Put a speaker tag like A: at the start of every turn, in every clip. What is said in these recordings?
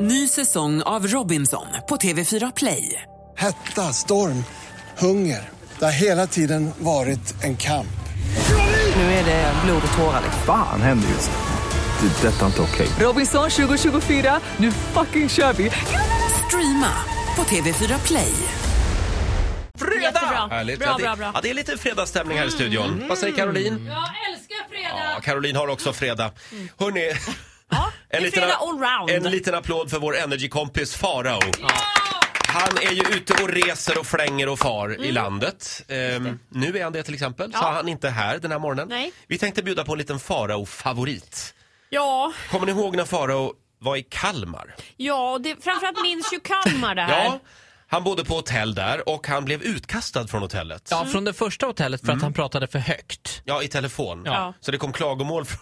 A: Ny säsong av Robinson på TV4 Play.
B: Hetta, storm, hunger. Det har hela tiden varit en kamp.
A: Nu är det blod och tårar.
C: Fan händer just nu. Det. är Detta är inte okej.
A: Robinson 2024, nu fucking kör vi! Streama på TV4 Play.
D: Fredag!
E: Härligt.
D: Bra,
E: Ja, det,
D: bra, bra. Mm.
E: Ja, det är lite fredagsstämning här i studion. Vad säger Caroline?
D: Jag älskar fredag!
E: Ja, Caroline har också fredag. Hörrni,
D: Ja, det är
E: en, liten,
D: fredag allround.
E: en liten applåd för vår energikompis Farao. Han är ju ute och reser och flänger och far i landet. Ehm, nu är han det till exempel, så
D: Mm. Ja.
E: han är inte här den här morgonen.
D: Nej.
E: Vi tänkte bjuda på en liten Farao-favorit.
D: Ja,
E: Kommer ni ihåg när Farao var i Kalmar?
D: ja och det, framförallt minns ju Kalmar det här.
E: Ja, han bodde på hotell där och han blev utkastad från hotellet.
F: Ja, från det första hotellet för att han pratade för högt.
E: Ja, i telefon.
D: Ja.
E: Så det kom klagomål från,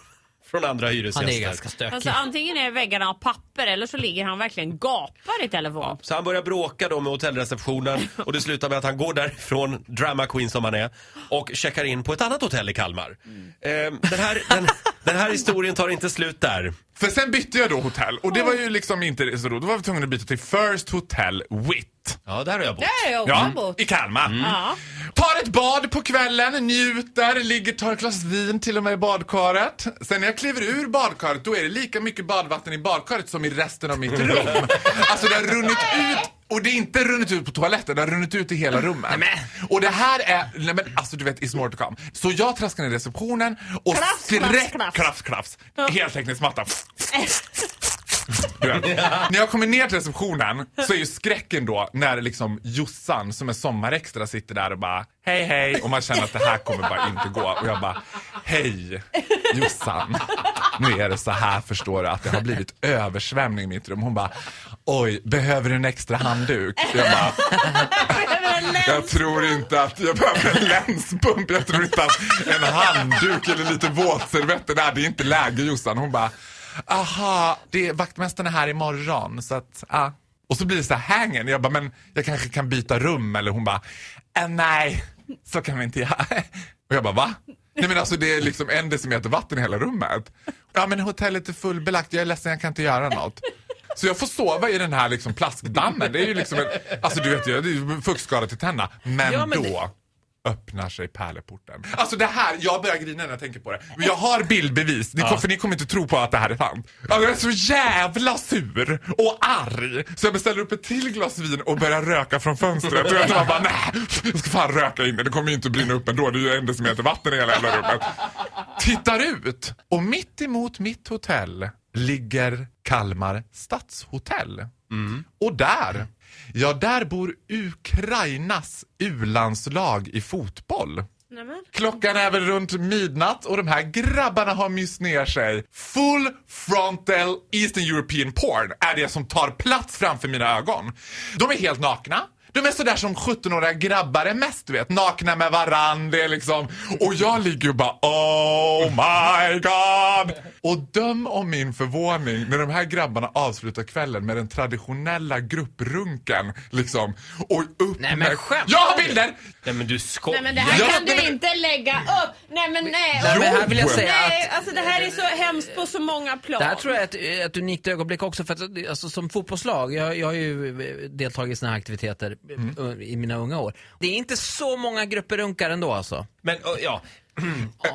E: från andra
F: Han
E: hyresgäster.
F: är ganska stökig.
D: Alltså antingen är väggarna av papper eller så ligger han verkligen gapar i telefon.
E: Så han börjar bråka då med hotellreceptionen och det slutar med att han går därifrån, drama queen som han är, och checkar in på ett annat hotell i Kalmar. Ehm, den, här, den, den här historien tar inte slut där.
G: För sen bytte jag då hotell och det var ju liksom inte så roligt. Då var vi tvungna att byta till First Hotel Witt.
E: Ja, där har jag bott.
D: Där är jag också
G: Ja,
D: bott.
G: i Kalmar.
D: Ja.
G: Tar ett bad på kvällen, njuter, ligger, tar ett glas vin till och med i badkaret. Sen när jag kliver ur badkaret då är det lika mycket badvatten i badkaret som i resten av mitt rum. Alltså det har runnit ut och det är inte runnit ut på toaletten, det har runnit ut i hela rummet. Och det här är, nej men alltså du vet, it's more to come. Så jag traskar ner i receptionen och
D: Krafs, krafs,
G: sträck,
D: krafs.
G: krafs, krafs, heltäckningsmatta. Du vet. När jag kommer ner till receptionen så är ju skräcken då när liksom Jossan som är sommarextra sitter där och bara hej hej och man känner att det här kommer bara inte gå och jag bara hej Jossan. Nu är det så här förstår du att det har blivit översvämning i mitt rum. Hon bara oj behöver du en extra handduk? Jag bara jag tror inte att jag behöver en länspump. Jag tror inte att en handduk eller lite våtservetter där, det är inte läge Jossan. Hon bara, aha, det är, vaktmästaren är här imorgon så att, ah. Och så blir det så här hängen. Jag bara, men jag kanske kan byta rum eller hon bara, eh, nej, så kan vi inte göra. Och jag bara, va? Nej men alltså det är liksom en decimeter vatten i hela rummet. Ja men hotellet är fullbelagt, jag är ledsen jag kan inte göra något. Så jag får sova i den här liksom plastdammen. Det är ju liksom en, alltså du vet ju, det är ju fuktskada till tänderna. Men,
F: Ja, men
G: då öppnar sig pärleporten. Alltså det här, jag börjar grina när jag tänker på det. Men jag har bildbevis, ni, för ni kommer inte tro på att det här är sant. Alltså, jag är så jävla sur och arg så jag beställer upp ett till glas vin och börjar röka från fönstret. Och jag tror bara nej, jag ska fan röka inne. Det kommer ju inte brinna upp ändå, det är ju en decimeter vatten i hela jävla rummet. Tittar ut och mitt emot mitt hotell ligger Kalmar stadshotell. Och där, ja där bor Ukrainas u-landslag i fotboll.
D: Nämen.
G: Klockan är väl runt midnatt och de här grabbarna har myst ner sig. Full frontal Eastern European porn är det som tar plats framför mina ögon. De är helt nakna. De är sådär som 17-åriga grabbar är mest, du vet. Nakna med varann, det är liksom... Och jag ligger och bara oh my god! Och döm om min förvåning när de här grabbarna avslutar kvällen med den traditionella grupprunken, liksom. Och upp
F: Nej, men
G: med...
F: skämtar
G: Jag har bilder!
E: Nej men du skojar.
D: Nej men det här
G: Ja,
D: kan
G: nej,
D: du
G: men-
D: inte lägga upp! Nej men nej!
F: Ja, men här vill jag säga att
D: Nej, alltså det här är så hemskt på så många plan.
F: det här tror jag är ett, ett unikt ögonblick också för att alltså, som fotbollslag, jag, jag har ju eh, deltagit i såna här aktiviteter eh, i mina unga år. Det är inte så många grupperunkar ändå alltså.
E: Men ö, ja,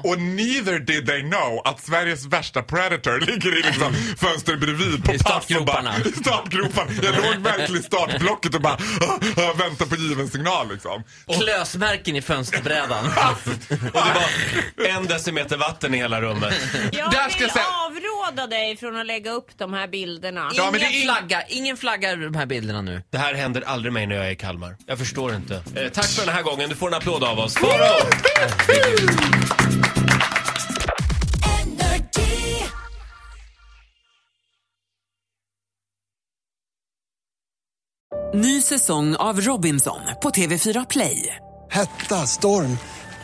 G: Och neither did they know att Sveriges värsta predator ligger i liksom fönster bredvid på
F: I
G: pass och
F: startgroparna.
G: bara- I startgroparna. Jag låg verkligen i startblocket och bara ah, ah, väntade på given signal liksom.
F: Klösmärken i fönsterbrädan.
E: och det var en decimeter vatten i hela rummet.
D: Jag
G: Där ska
D: vill
G: jag säga-
D: avråda dig från att lägga upp de här bilderna.
G: Ja, men det
F: ingen,
G: är-
F: flagga, ingen flagga i de här bilderna nu.
E: Det här händer aldrig mig när jag är i Kalmar. Jag förstår inte. Eh, tack för den här gången. Du får en applåd av oss. Farao!
A: Ny säsong av Robinson på TV4 Play.
B: Hetta, storm,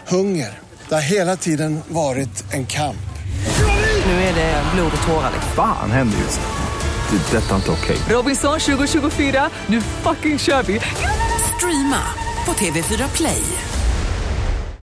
B: hunger. Det har hela tiden varit en kamp.
A: Nu är det blod och tårar. liksom.
C: Fan händer just nu. Det. är Detta är inte okej.
A: Robinson 2024, nu fucking kör vi! Streama på TV4 Play.